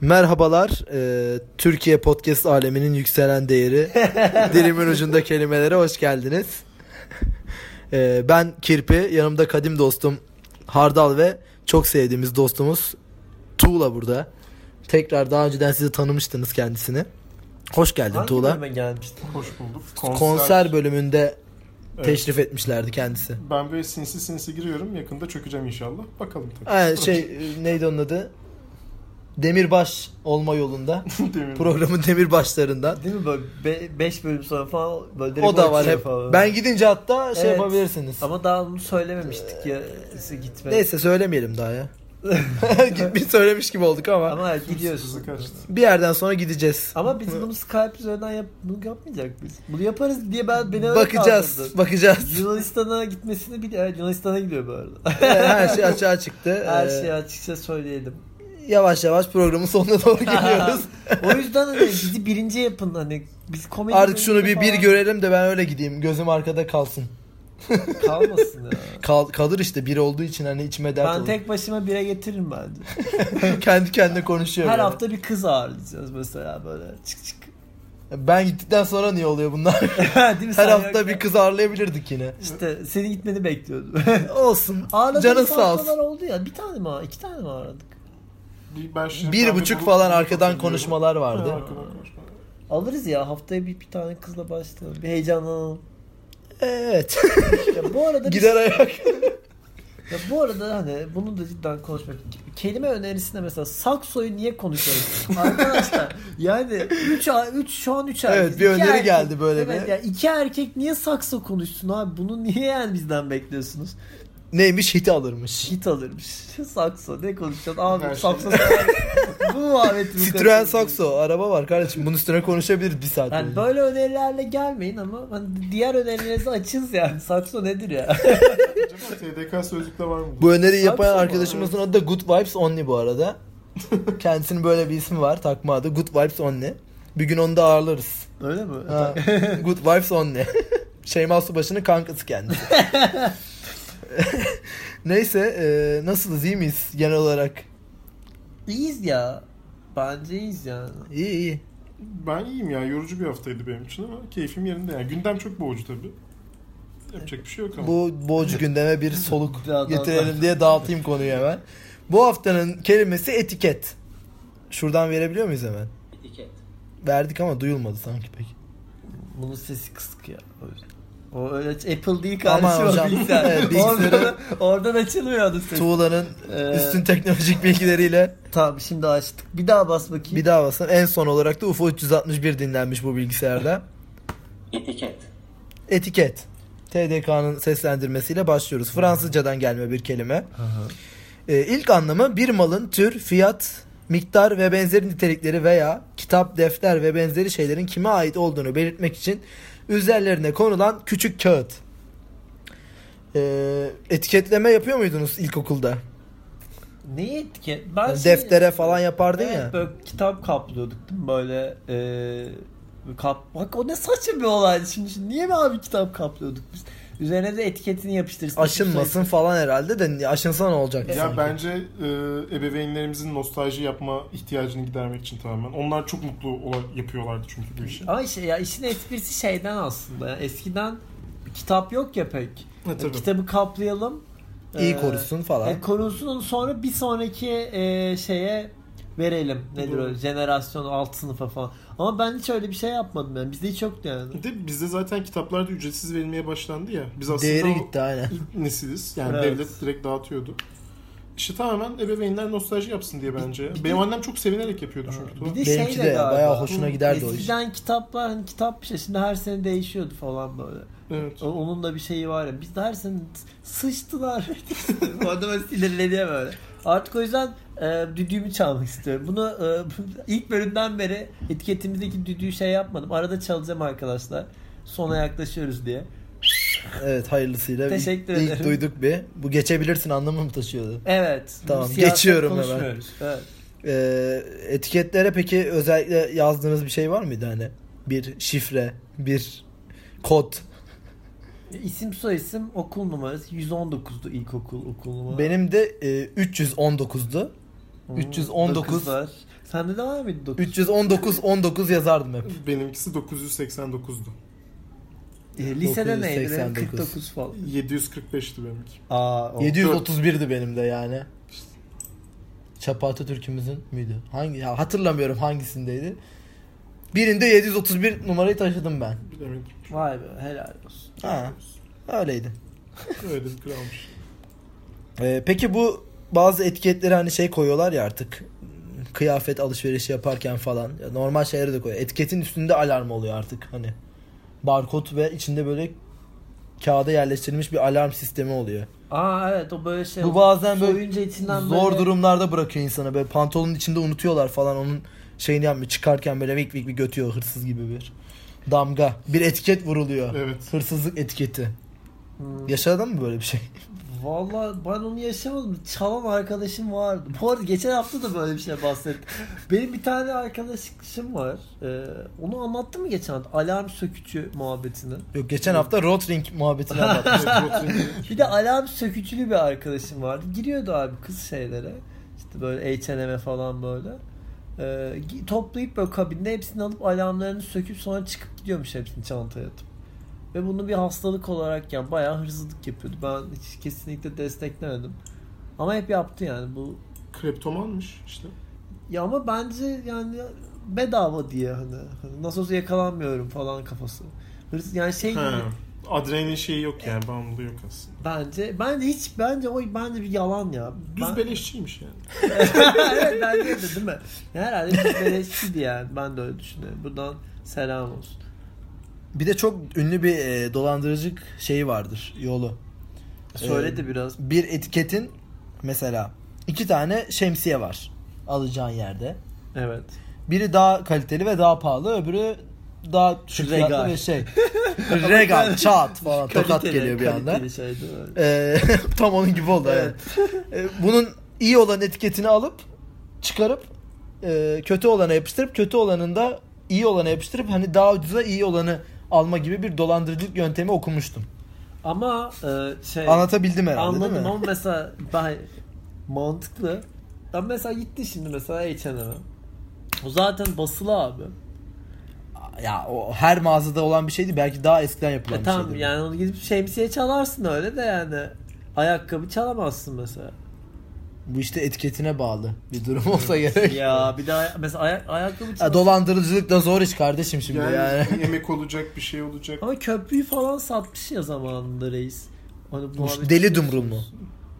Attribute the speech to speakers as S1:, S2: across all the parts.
S1: Merhabalar, e, Türkiye podcast aleminin yükselen değeri. Dilimin ucunda kelimelere hoş geldiniz. E, ben Kirpi, yanımda kadim dostum Hardal ve çok sevdiğimiz dostumuz Tuğla burada. Tekrar daha önceden sizi tanımıştınız kendisini. Hoş geldin
S2: Hangi
S1: Tuğla.
S2: bölüme gelmiştin?
S3: Hoş bulduk.
S1: Konser, bölümünde
S3: Evet.
S1: teşrif etmişlerdi kendisi.
S3: Ben böyle sinsi sinsi giriyorum. Yakında çökeceğim inşallah. Bakalım tabii.
S1: Ha, şey e, neydi onun adı? Demirbaş olma yolunda.
S3: Demir.
S1: Programın demirbaşlarından.
S2: Değil mi böyle 5 bölüm sonra falan böyle direkt
S1: O da var
S2: ortaya
S1: hep.
S2: falan.
S1: Ben gidince hatta şey
S2: Evet.
S1: yapabilirsiniz.
S2: Ama daha bunu söylememiştik ya siz gitme.
S1: Neyse söylemeyelim daha ya. Bir söylemiş gibi olduk ama,
S2: Ama
S3: Hızlı
S2: gidiyorsun.
S3: kaçtı.
S1: bir yerden sonra gideceğiz.
S2: Ama biz bunu Skype üzerinden yap bunu yapmayacak biz. Bunu yaparız diye ben beni öyle
S1: bakacağız,
S2: kandırdı.
S1: bakacağız.
S2: Yunanistan'a gitmesini biliyor. Evet, Yunanistan'a gidiyor bu arada.
S1: Her şey açığa çıktı.
S2: Her şey
S1: Ee,
S2: şeyi açıkça söyleyelim.
S1: Yavaş yavaş programın sonuna doğru geliyoruz.
S2: o yüzden hani bizi birinci yapın hani biz komedi
S1: Artık şunu bir
S2: bölümünde
S1: bir
S2: falan
S1: görelim de ben öyle gideyim. Gözüm arkada kalsın.
S2: kalmasın ya.
S1: Kal, kalır işte bir olduğu için hani içime dert
S2: ben
S1: olur.
S2: tek başıma bire getiririm bence.
S1: Kendi kendine konuşuyorum.
S2: Her
S1: yani.
S2: hafta bir kız ağırlayacağız mesela böyle çık çık.
S1: Ben gittikten sonra niye oluyor bunlar?
S2: Değil mi?
S1: Her
S2: Sen
S1: hafta
S2: yok ya.
S1: bir kız ağırlayabilirdik yine.
S2: İşte seni gitmeni bekliyordum.
S1: Olsun.
S2: Ağladığımız
S1: Canın sağ olsun.
S2: haftalar oldu ya. Bir tane mi ağ- iki tane mi ağladık?
S3: Bir, ben şimdi
S1: Bir
S3: ben de
S1: buçuk
S3: bu-
S1: falan
S3: bu-
S1: arkadan
S3: hatırlıyorum.
S1: konuşmalar
S3: Ha,
S1: vardı.
S3: arkadan konuşmalar.
S2: Alırız ya haftaya bir, bir tane kızla başlayalım. Bir heyecanlanalım.
S1: Evet.
S2: Ya bu arada biz-
S1: Gider ayak.
S2: ya bu arada hani bunu da cidden konuşmak. Kelime önerisinde mesela saksoyu niye konuşuyoruz? Arkadaşlar yani 3 3 şu an 3
S1: Evet, bir öneri geldi böyle
S2: evet,
S1: bir.
S2: Ya iki erkek niye sakso konuşsun abi? Bunu niye yani bizden bekliyorsunuz?
S1: Neymiş hiti alırmış.
S2: Hit alırmış. Sakso ne konuşacaksın? Abi
S3: Her şey.
S2: sakso bu muhabbeti bu
S1: Citroen
S2: kadar.
S1: Saxo araba var kardeşim. Bunun üstüne konuşabiliriz bir saat.
S2: Yani
S1: boyunca.
S2: böyle önerilerle gelmeyin ama hani diğer önerilerinizi açız yani. Sakso nedir ya?
S3: Acaba TDK sözlükte var mı?
S1: Bu öneriyi yapan
S2: Saxo mu?
S1: arkadaşımızın adı da Good Vibes Only bu arada. Kendisinin böyle bir ismi var takma adı Good Vibes Only. Bir gün onu da ağırlarız.
S2: Öyle mi?
S1: Ha. Good Vibes Only. Şeyma Subaşı'nın kankası kendisi. Neyse e, nasılız iyi miyiz genel olarak?
S2: İyiyiz ya. Bence iyiyiz yani.
S1: İyi iyi.
S3: Ben iyiyim ya. Yorucu bir haftaydı benim için ama keyfim yerinde yani. Gündem çok boğucu tabii. Yapacak bir şey yok ama.
S1: Bu boğucu gündeme bir soluk
S2: Daha- daha-
S1: getirelim diye dağıtayım konuyu hemen. Bu haftanın kelimesi etiket. Şuradan verebiliyor muyuz hemen?
S4: Etiket.
S1: Verdik ama duyulmadı sanki pek.
S2: Bunun sesi kısık ya. O yüzden. O öyle Apple değil
S1: Aman
S2: kardeşim o
S1: hocam.
S2: bilgisayar.
S1: Evet, bilgisayarı-
S2: Oradan, oradan açılmıyor adı ses.
S1: Tuğla'nın
S2: Ee,
S1: üstün teknolojik bilgileriyle
S2: Tamam şimdi açtık. Bir daha bas bakayım.
S1: bir daha basalım. En son olarak da UFO 361 dinlenmiş bu bilgisayarda.
S4: Etiket.
S1: Etiket. TDK'nın seslendirmesiyle başlıyoruz. Fransızcadan gelme bir kelime. Ee, ilk anlamı bir malın tür, fiyat, miktar ve benzeri nitelikleri veya kitap, defter ve benzeri şeylerin kime ait olduğunu belirtmek için üzerlerine konulan küçük kağıt. Ee, etiketleme yapıyor muydunuz ilkokulda?
S2: Neyi etiket? Ben
S1: Yani
S2: şey-
S1: deftere falan yapardın
S2: Evet,
S1: ya.
S2: Böyle kitap kaplıyorduk değil mi? Böyle e, kap... Bak o ne saçma bir olay. Şimdi, şimdi niye mi abi kitap kaplıyorduk biz? Üzerine de etiketini yapıştırırsın.
S1: Aşınmasın
S2: şey.
S1: falan herhalde de aşınsa ne olacak?
S3: Ya
S1: sanki?
S3: bence e, ebeveynlerimizin nostalji yapma ihtiyacını gidermek için tamamen. Onlar çok mutlu ola- yapıyorlardı çünkü bu işi.
S2: Ama işte ya işin esprisi şeyden aslında. Yani eskiden kitap yok ya pek. E,
S3: Ha, tabii.
S2: Kitabı kaplayalım.
S1: İyi
S2: Ee,
S1: korusun falan.
S2: E, korunsun sonra bir sonraki e, şeye verelim. Nedir
S3: Doğru.
S2: o? Jenerasyon alt sınıfa falan. Ama ben hiç öyle bir şey yapmadım yani. Bizde hiç yoktu yani.
S3: Bir de bizde zaten kitaplar da ücretsiz verilmeye başlandı ya. Biz aslında
S1: Değeri
S3: o-
S1: gitti aynen.
S3: İlk nesiliz. Yani
S2: Evet.
S3: devlet direkt dağıtıyordu. İşte tamamen ebeveynler nostalji yapsın diye bence. Benim annem çok sevinerek yapıyordu çünkü.
S2: Bir
S3: Tuğla.
S2: de
S1: Benimki
S2: şey
S1: de
S2: de
S1: ya,
S2: galiba.
S1: bayağı hoşuna
S2: Hı,
S1: giderdi o iş.
S2: Eskiden kitaplar hani kitap bir şey şimdi her sene değişiyordu falan böyle.
S3: Evet.
S2: O- Onun da bir şeyi var ya. Biz de her sene sıçtılar. Orada böyle sinirleniyor böyle. Artık o yüzden e, düdüğümü çalmak istiyorum. Bunu e, ilk bölümden beri etiketimizdeki düdüğü şey yapmadım. Arada çalacağım arkadaşlar. Sona yaklaşıyoruz diye.
S1: Evet hayırlısıyla.
S2: Teşekkür
S1: ilk,
S2: ederim.
S1: duyduk bir. Bu geçebilirsin anlamı mı taşıyordu?
S2: Evet.
S1: Tamam,
S2: bu siyaset
S1: geçiyorum hemen.
S2: konuşmuyoruz. Evet.
S1: Ee, etiketlere peki özellikle yazdığınız bir şey var mıydı hani? Bir şifre, bir kod.
S2: İsim soyisim okul numarası 119'du ilkokul okul numarası.
S1: Benim de e, 319'du.
S2: Hmm,
S1: 319
S2: var. Sende de var mıydı 9?
S1: 319 19 yazardım hep.
S3: Benimkisi 989'du.
S2: Ee, lisede neydi? Benim
S1: 989.
S2: 49 falan.
S3: 745'ti benimki.
S2: Aa, o.
S1: 731'di benim de yani. Çapa Atatürk'ümüzün müydü? Hangi ya hatırlamıyorum hangisindeydi. Birinde 731 numarayı taşıdım ben.
S3: Bilemedim.
S2: Vay be helal olsun.
S1: Ha, öyleydi.
S3: Öyle bir kralmış.
S1: Ee, peki bu bazı etiketlere hani şey koyuyorlar ya artık kıyafet alışverişi yaparken falan ya normal şeylere de koyuyor. Etiketin üstünde alarm oluyor artık hani. Barkod ve içinde böyle kağıda yerleştirilmiş bir alarm sistemi oluyor.
S2: Aa evet o böyle şey.
S1: Bu bazen böyle
S2: soyunca içinden
S1: Zor
S2: böyle-
S1: durumlarda bırakıyor insanı böyle pantolonun içinde unutuyorlar falan onun şeyini yapmıyor. Çıkarken böyle vik vik bir götüyor hırsız gibi bir damga. Bir etiket vuruluyor.
S3: Evet.
S1: Hırsızlık etiketi.
S2: Hmm.
S1: Yaşadın mı böyle bir şey?
S2: Valla ben onu yaşamadım. Çalan arkadaşım vardı. Bu arada geçen hafta da böyle bir şey bahsettim. Benim bir tane arkadaşım var. Ee, onu anlattım mı geçen hafta? Alarm sökücü muhabbetini.
S1: Yok geçen hafta Rotring muhabbetini anlattım.
S3: Evet, Rotring'in-
S2: Bir de alarm sökücülü bir arkadaşım vardı. Giriyordu abi kız şeylere. İşte böyle H&M'e falan böyle. Ee, gi- toplayıp böyle kabinde hepsini alıp alarmlarını söküp sonra çıkıp gidiyormuş hepsini çantaya atıp. Ve bunu bir hastalık olarak yani bayağı hırsızlık yapıyordu. Ben hiç kesinlikle desteklemedim. Ama hep yaptı yani bu.
S3: Kreptomanmış işte.
S2: Ya ama bence yani bedava diye hani, hani nasıl olsa yakalanmıyorum falan kafası. Hırsız yani şey gibi-
S3: Ha. Adrenalin şeyi yok yani bağımlılığı yok aslında.
S2: bence bence hiç bence o bence bir yalan ya.
S3: Düz
S2: Ben-
S3: beleşçiymiş yani.
S2: evet bence de değil mi? Ya Herhalde bir beleşçiydi yani. Ben de öyle düşünüyorum. Buradan selam olsun.
S1: Bir de çok ünlü bir e, dolandırıcılık şeyi vardır yolu.
S2: Söyle de
S1: Ee,
S2: biraz.
S1: Bir etiketin mesela iki tane şemsiye var alacağın yerde.
S2: Evet.
S1: Biri daha kaliteli ve daha pahalı, öbürü daha düşük
S2: Regal.
S1: fiyatlı ve şey. Regal, çat falan tokat
S2: Kaliteli-
S1: geliyor bir anda.
S2: kaliteli şey değil mi?
S1: Ee, tam onun gibi oldu evet. Ee, Bunun iyi olan etiketini alıp çıkarıp e, kötü olana yapıştırıp kötü olanın da iyi olana yapıştırıp hani daha ucuza iyi olanı alma gibi bir dolandırıcılık yöntemi okumuştum.
S2: Ama e, şey...
S1: Anlatabildim herhalde
S2: Anladım
S1: değil mi?
S2: ama mesela ben mantıklı. Ben mesela gitti şimdi mesela H&M'e. O zaten basılı abi. E
S1: Ya o her mağazada olan bir şeydi. Belki daha eskiden yapılan
S2: E
S1: bir şey
S2: tamam
S1: şeydi. bu.
S2: yani onu gidip şemsiye çalarsın öyle de yani. Ayakkabı çalamazsın mesela.
S1: Bu işte etiketine bağlı bir durum olsa gerek.
S2: ya bir daha mesela ayak, ayakkabı
S1: Ya
S2: çalamazsın.
S1: dolandırıcılık da zor iş kardeşim şimdi
S3: Yani,
S1: yani.
S3: yemek olacak bir şey olacak.
S2: Ama köprüyü falan satmış ya zamanında reis. Hani bu abi-
S3: şey
S1: Deli Dumrul mu?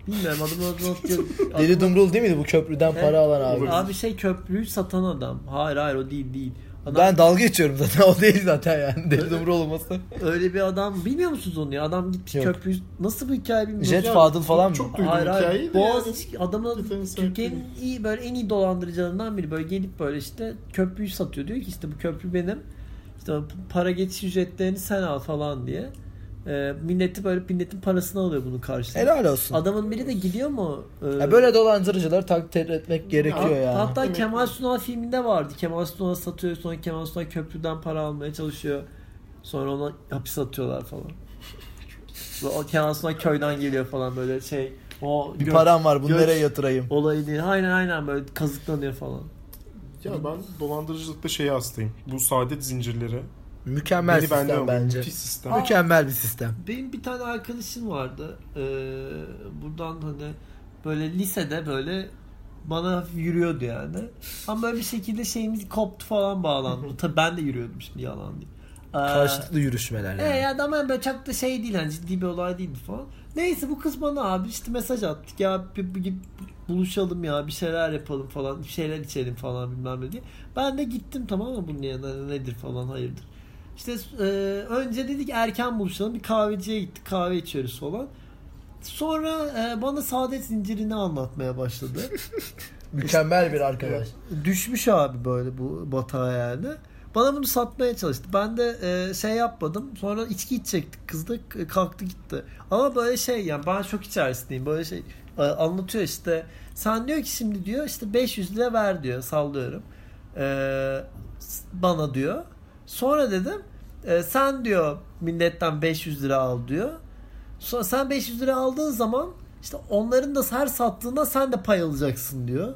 S2: Bilmiyorum adımı hatırlatıyorum.
S1: Deli Dumrul değil miydi bu köprüden para alan abi?
S2: abi. şey köprüyü satan adam. Hayır hayır o değil değil. Adam,
S1: Ben dalga geçiyorum zaten o değil zaten yani Deli Dumrul olması.
S2: Öyle bir adam bilmiyor musunuz onu ya? Adam gitmiş
S1: Yok.
S2: köprüyü nasıl bir hikaye bilmiyorum.
S1: Jet
S2: Ya,
S1: Fadıl falan mı?
S3: Çok duydum
S2: hayır, hayır.
S3: hikayeyi de
S2: Boğaz
S3: yani.
S2: adamın
S3: Zaten sen-
S2: Türkiye'nin iyi böyle en iyi dolandırıcılarından biri böyle gelip böyle işte köprüyü satıyor diyor ki işte bu köprü benim işte para geçiş ücretlerini sen al falan diye Ee, milleti böyle milletin parasını alıyor bunun karşılığında.
S1: Helal olsun.
S2: Adamın biri de gidiyor mu? Ee,
S1: Ya böyle dolandırıcıları takdir etmek gerekiyor
S3: Hat-
S1: yani.
S2: Hatta
S3: Evet.
S2: Kemal Sunal filminde vardı. Kemal Sunal satıyor sonra Kemal Sunal köprüden para almaya çalışıyor. Sonra ona hapis atıyorlar falan. Ve o Kemal Sunal köyden geliyor falan böyle şey. O
S1: bir
S2: gö-
S1: param var bunu
S2: göç
S1: nereye yatırayım?
S2: Olayı değil. Aynen aynen böyle kazıklanıyor falan.
S3: Ya ben dolandırıcılıkta şeye hastayım. Bu saadet zincirleri.
S1: Mükemmel
S3: Beni
S1: sistem
S3: benden alıyor.
S1: bence.
S3: Müthiş sistem.
S1: Mükemmel bir sistem.
S2: Benim bir tane arkadaşım vardı. Ee, buradan hani böyle lisede böyle bana hafif yürüyordu yani. Ama böyle bir şekilde şeyimiz koptu falan bağlandı. Tabii ben de yürüyordum şimdi yalan değil. Ee,
S1: Karşılıklı yürüşmeler yani.
S2: E ya da ama böyle çok da şey değil hani ciddi bir olay değildi falan. Neyse bu kız bana abi işte mesaj attık ya bir, bir- bir buluşalım ya bir şeyler yapalım falan bir şeyler içelim falan bilmem ne diye. Ben de gittim tamam mı bunun yanına hani nedir falan hayırdır. İşte e, önce dedik erken buluşalım bir kahveciye gittik kahve içiyoruz falan. Sonra e, bana saadet zincirini anlatmaya başladı.
S1: Mükemmel bir arkadaş.
S2: Düşmüş abi böyle bu batağa yani. Bana bunu satmaya çalıştı. Ben de e, şey yapmadım. Sonra içki içecektik. Kız da k- kalktı gitti. Ama böyle şey yani ben şok içerisindeyim. Böyle şey e, anlatıyor işte. Sen diyor ki şimdi diyor işte 500 lira ver diyor. Sallıyorum. E, s- bana diyor. Sonra dedim e, sen diyor milletten 500 lira al diyor. Sonra sen 500 lira aldığın zaman işte onların da her sattığında sen de pay alacaksın diyor.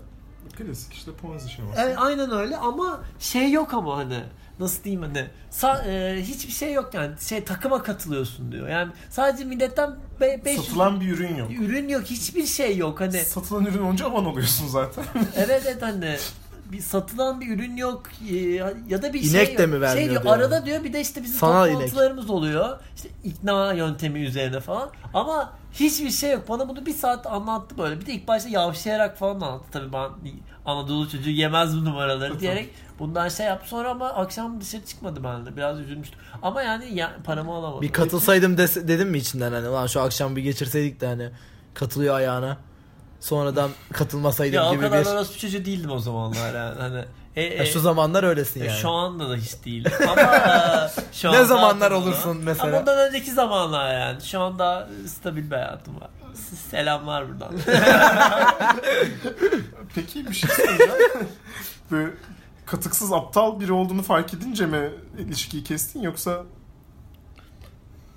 S3: Klasik işte Ponzi şey şeması.
S2: E, aynen öyle ama şey yok ama hani nasıl diyeyim hani sa- e, hiçbir şey yok yani şey takıma katılıyorsun diyor. Yani sadece milletten 5
S3: Satılan bir ürün yok.
S2: ürün yok hiçbir şey yok hani
S3: Satılan ürün olunca aman oluyorsun zaten.
S2: evet evet hani bir satılan bir ürün yok e, ya da bir şey
S1: İnek de
S2: yok.
S1: mi vermiyor
S2: şey diyor,
S1: diyor.
S2: arada diyor bir de işte bizim
S1: Sanal
S2: toplantılarımız oluyor işte ikna yöntemi üzerine falan ama hiçbir şey yok bana bunu bir saat anlattı böyle bir de ilk başta yavşayarak falan anlattı tabii ben Anadolu çocuğu yemez bu numaraları
S3: Tabii.
S2: diyerek bundan şey yaptı sonra ama akşam dışarı çıkmadı ben de biraz üzülmüştüm ama yani ya, paramı alamadım
S1: Bir katılsaydım dese- dedim mi içinden hani lan şu akşam bir geçirseydik de hani katılıyor ayağına. Sonradan katılmasaydım
S2: ya o
S1: gibi
S2: kadar
S1: bir.
S2: orospu çocuğu değildim o zamanlar yani hani e,
S1: Ya
S2: e,
S1: şu zamanlar öylesin
S2: E,
S1: yani.
S2: Şu anda da hiç değil. Ama e, şu
S1: Ne
S2: anda
S1: zamanlar
S2: hatırlıyorum.
S1: olursun mesela?
S2: Ama ondan önceki zamanlar yani. Şu anda stabil bir hayatım var. S- Selamlar buradan.
S3: Peki bir şey söyleyeceğim. Böyle katıksız aptal biri olduğunu fark edince mi ilişkiyi kestin yoksa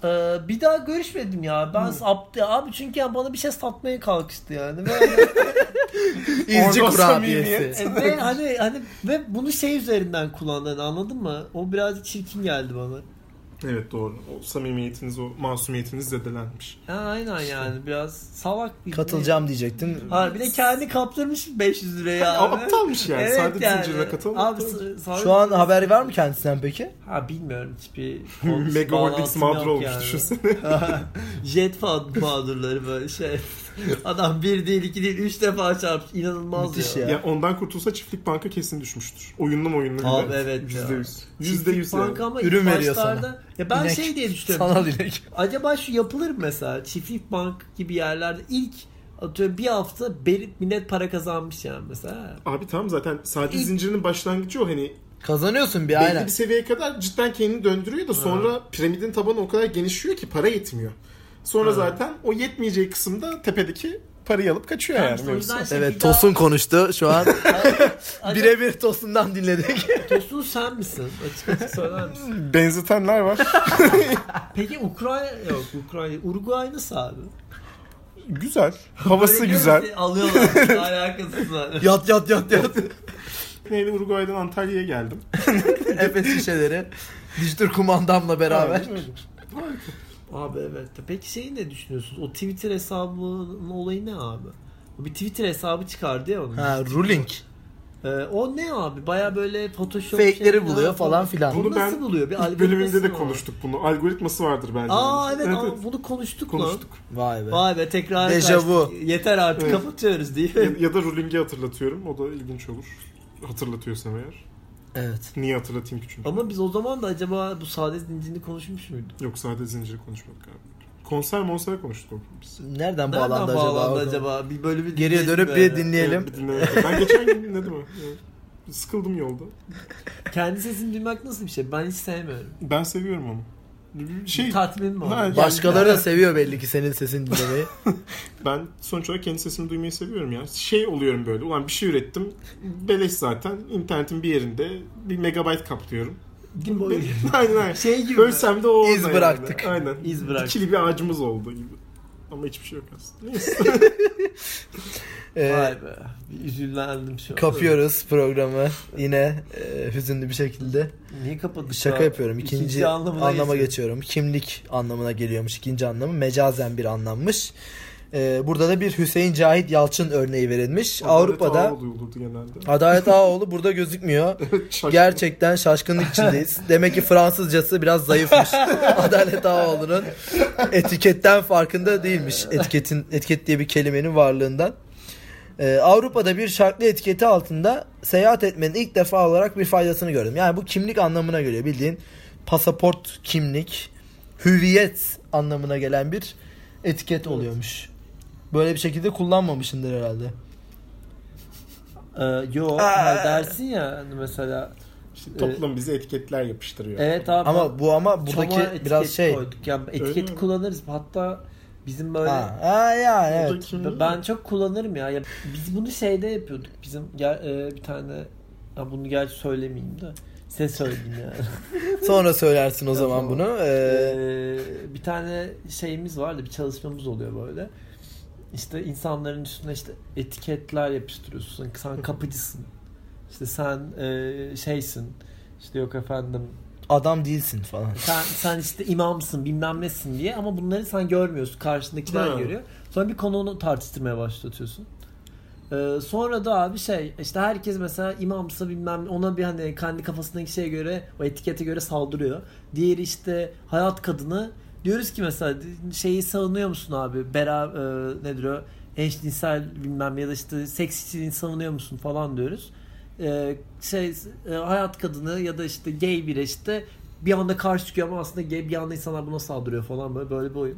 S2: Ee, bir daha görüşmedim ya. Ben saptı abi çünkü yani bana bir şey satmaya kalkıştı yani. Ve,
S1: İzci
S3: Orada
S1: kurabiyesi.
S3: samimiyet.
S2: e, ve hani hani ve bunu şey üzerinden kullandı hani anladın mı? O birazcık çirkin geldi bana.
S3: Evet doğru. O samimiyetiniz, o masumiyetiniz zedelenmiş.
S2: Ha, aynen yani biraz salak bir
S1: Katılacağım diyecektin.
S2: Ha, bir de kendi kaptırmış 500 liraya abi.
S3: Aptalmış yani. Saadet Zinciri'ne katılan
S2: Abi,
S3: aptal.
S2: sa- sa-
S1: Şu an haber var mı kendisinden peki?
S2: Ha bilmiyorum hiçbir
S3: Mega
S2: bağlantım
S3: Holdings
S2: yok
S3: mağduru olmuş
S2: yani.
S3: düşünsene.
S2: Jet fan mağdurları böyle şey. Adam bir değil iki değil üç defa çarpmış. İnanılmaz
S1: Müthiş
S2: ya.
S1: ya.
S3: Ya ondan kurtulsa çiftlik banka kesin düşmüştür. Oyunlu mu oyunlu?
S2: Abi
S3: gibi.
S2: evet ya.
S3: Yüzde yüz. Yüzde
S2: Çiftlik
S3: yüz
S2: banka
S3: yani.
S2: ama
S1: Ürün
S2: ilk
S1: veriyor
S2: başlarda-
S1: sana.
S2: Ya ben
S1: İnek.
S2: şey diye düşünüyorum.
S1: Sanal inek.
S2: Acaba şu yapılır mı mesela? Çiftlik bank gibi yerlerde ilk atıyorum bir hafta belirip millet para kazanmış yani mesela.
S3: Abi tamam zaten saadet
S2: İlk-
S3: zincirinin başlangıcı o hani
S1: Kazanıyorsun bir
S3: belli
S1: aynen.
S3: bir seviyeye kadar cidden kendini döndürüyor da sonra piramidin tabanı o kadar genişliyor ki para yetmiyor. Sonra
S2: Ha.
S3: zaten o yetmeyeceği kısımda tepedeki parayı alıp kaçıyor
S2: Tamam,
S3: yani.
S2: işte o yüzden
S3: mevzu.
S2: şey-
S1: Evet Tosun konuştu şu an.
S2: Acaba
S1: Birebir Tosun'dan dinledik.
S2: Tosun sen misin? Açık açık söyler misin?
S3: Benzetenler var.
S2: Peki Ukrayna yok Ukrayna. Uruguay nasıl abi?
S3: güzel. Havası
S2: Böyle
S3: güzel.
S2: görüyorsun, Alıyorlar. Alakasız var.
S1: yat yat yat yat.
S3: Neyle Uruguay'dan Antalya'ya geldim.
S1: Efes şişeleri. Dijital kumandamla beraber.
S3: Aynen öyle.
S2: Abi evet. Peki şeyi ne düşünüyorsunuz? O Twitter hesabının olayı ne abi? O Bir Twitter hesabı çıkardı ya onun.
S1: Ha ruling.
S2: Ee, o ne abi? Baya böyle Photoshop
S1: Fake'leri
S2: şeyler
S1: buluyor falan filan.
S2: Bunu
S3: Bunu
S2: nasıl
S3: ben
S2: buluyor? Bir
S3: İlk
S2: algoritması
S3: bölümünde de
S2: mı var?
S3: konuştuk bunu. Algoritması vardır bence.
S2: Aa evet,
S3: bunun.
S2: aa, bunu konuştuk,
S3: konuştuk.
S1: Vay be.
S2: lan. Vay be tekrar
S1: Dejavu.
S2: kaçtık. Yeter artık
S3: Evet.
S2: kapatıyoruz diye.
S3: Ya, ya da ruling'i hatırlatıyorum. O da ilginç olur. Hatırlatıyorsam eğer.
S1: Evet.
S3: Niye hatırlatayım ki çünkü?
S2: Ama biz o zaman da acaba bu sade zincirini konuşmuş muyduk?
S3: Yok sadece zinciri konuşmak galiba. Konser monser konuştuk o gün biz.
S1: Nereden,
S2: Nereden
S1: bağlandı,
S2: bağlandı
S1: acaba?
S2: acaba? Bir bölümü
S1: Geriye
S2: dinleyelim
S1: dönüp
S2: mi?
S1: bir dinleyelim.
S3: Evet, bir dinlemek- ben geçen gün dinledim o. Evet. Sıkıldım yolda.
S2: Kendi sesini duymak nasıl bir şey? Ben hiç sevmiyorum.
S3: Ben seviyorum onu. Bir Şey,
S2: Tatmin mi
S3: Ha,
S2: oldu?
S1: Başkaları da seviyor belli ki senin sesini dinlemeyi.
S3: ben sonuç olarak kendi sesimi duymayı seviyorum ya. Şey oluyorum böyle. Ulan bir şey ürettim. Beleş zaten. İnternetin bir yerinde bir megabayt kaplıyorum.
S2: Gün boyu.
S3: aynen aynen.
S2: Şey gibi.
S3: Ölsem de o
S1: İz
S3: olma
S1: bıraktık.
S3: Yani. Aynen.
S2: İz bıraktık.
S3: İkili bir ağacımız oldu gibi. Ama hiçbir şey yok aslında. Neyse.
S1: Ee,
S2: Vay be. Bir üzüldüm şu an.
S1: kapıyoruz programı yine e, hüzünlü bir şekilde.
S2: Niye kapadık?
S1: Şaka
S2: ya?
S1: yapıyorum. İkinci,
S2: anlamına
S1: anlama
S2: geçiyor.
S1: geçiyorum. Kimlik anlamına geliyormuş ikinci anlamı. Mecazen bir anlammış. Ee, burada da bir Hüseyin Cahit Yalçın örneği verilmiş. Avrupa'da
S3: Adalet olurdu genelde.
S1: Adalet Ağaoğlu burada gözükmüyor.
S3: Şaşkın.
S1: Gerçekten şaşkınlık içindeyiz. Demek ki Fransızcası biraz zayıfmış. Adalet Ağaoğlu'nun etiketten farkında değilmiş. Etiketin etiket diye bir kelimenin varlığından. Ee, Avrupa'da bir şarklı etiketi altında seyahat etmenin ilk defa olarak bir faydasını gördüm. Yani bu kimlik anlamına geliyor. Bildiğin pasaport, kimlik, hüviyet anlamına gelen bir etiket oluyormuş. Böyle bir şekilde kullanmamışındır herhalde.
S2: Ee, yo hani dersin ya hani mesela.
S3: İşte toplum bizi etiketler yapıştırıyor.
S2: e, Evet abi.
S1: Ama bu ama
S2: çoma
S1: buradaki
S2: etiket
S1: biraz şey.
S2: Koyduk. Yani
S3: Öyle
S2: etiketi
S3: mi?
S2: kullanırız. Hatta bizim böyle
S1: Ha, ha yani
S3: Bu da
S1: evet.
S3: kimliği-
S2: Ben çok kullanırım ya. ya. Biz bunu şeyde yapıyorduk. Bizim ger- e, bir tane ya bunu gerçi söylemeyeyim de size söyleyeyim yani.
S1: Sonra söylersin o zaman
S2: Tamam.
S1: bunu. Ee,
S2: Ee, bir tane şeyimiz vardı, bir çalışmamız oluyor böyle. işte insanların üstüne işte etiketler yapıştırıyorsun. Sen kapıcısın. İşte sen e, şeysin. İşte yok efendim
S1: Adam değilsin falan.
S2: sen, sen işte imamsın bilmem nesin diye ama bunları sen görmüyorsun. Karşındakiler
S3: Ha.
S2: görüyor. Sonra bir konuğunu tartıştırmaya başlatıyorsun. Ee, sonra da abi şey işte herkes mesela imamsa bilmem ne, ona bir hani kendi kafasındaki şeye göre o etikete göre saldırıyor. Diğeri işte hayat kadını diyoruz ki mesela şeyi savunuyor musun abi? Bera e, nedir o? Eşcinsel bilmem ne ya da işte seks işçiliğini savunuyor musun falan diyoruz. Ee, şey e, hayat kadını ya da işte gay biri işte bir anda karşı çıkıyor ama aslında gay bir anda insanlar buna saldırıyor falan böyle böyle bir oyun.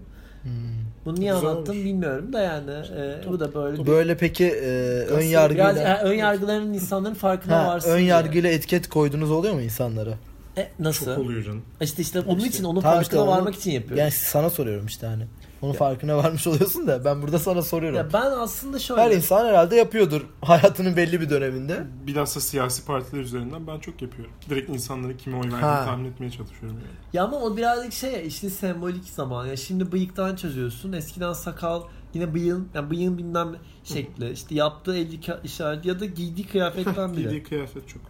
S2: Bunu niye
S3: Güzel
S2: anlattım
S3: olmuş.
S2: bilmiyorum da yani e, bu da böyle bir
S1: Böyle peki e, ön
S2: Biraz
S1: yargıyla
S2: e, ön yargıların insanların farkına
S1: ha,
S2: varsın.
S1: ön
S2: diye.
S1: yargıyla etiket koyduğunuz oluyor mu insanlara?
S2: E, nasıl?
S3: Çok oluyor canım.
S2: İşte işte onun için onun
S1: Tamam
S2: farkına
S1: işte onu-
S2: varmak için yapıyorum.
S1: Yani sana soruyorum işte hani. Onun farkına varmış oluyorsun da ben burada sana soruyorum.
S2: ya ben aslında şöyle
S1: Her insan herhalde yapıyordur hayatının belli bir döneminde.
S3: Bilhassa siyasi partiler üzerinden ben çok yapıyorum. Direkt insanların kime oy verdiğini
S1: Ha.
S3: tahmin etmeye çalışıyorum yani.
S2: Ya ama o birazcık şey ya, işte sembolik zaman. Ya şimdi bıyıktan çözüyorsun. Eskiden sakal yine bıyığın yani bıyığın bilmem şekli. işte yaptığı el işareti ya da giydiği kıyafetten biri.
S3: Giydiği kıyafet çok.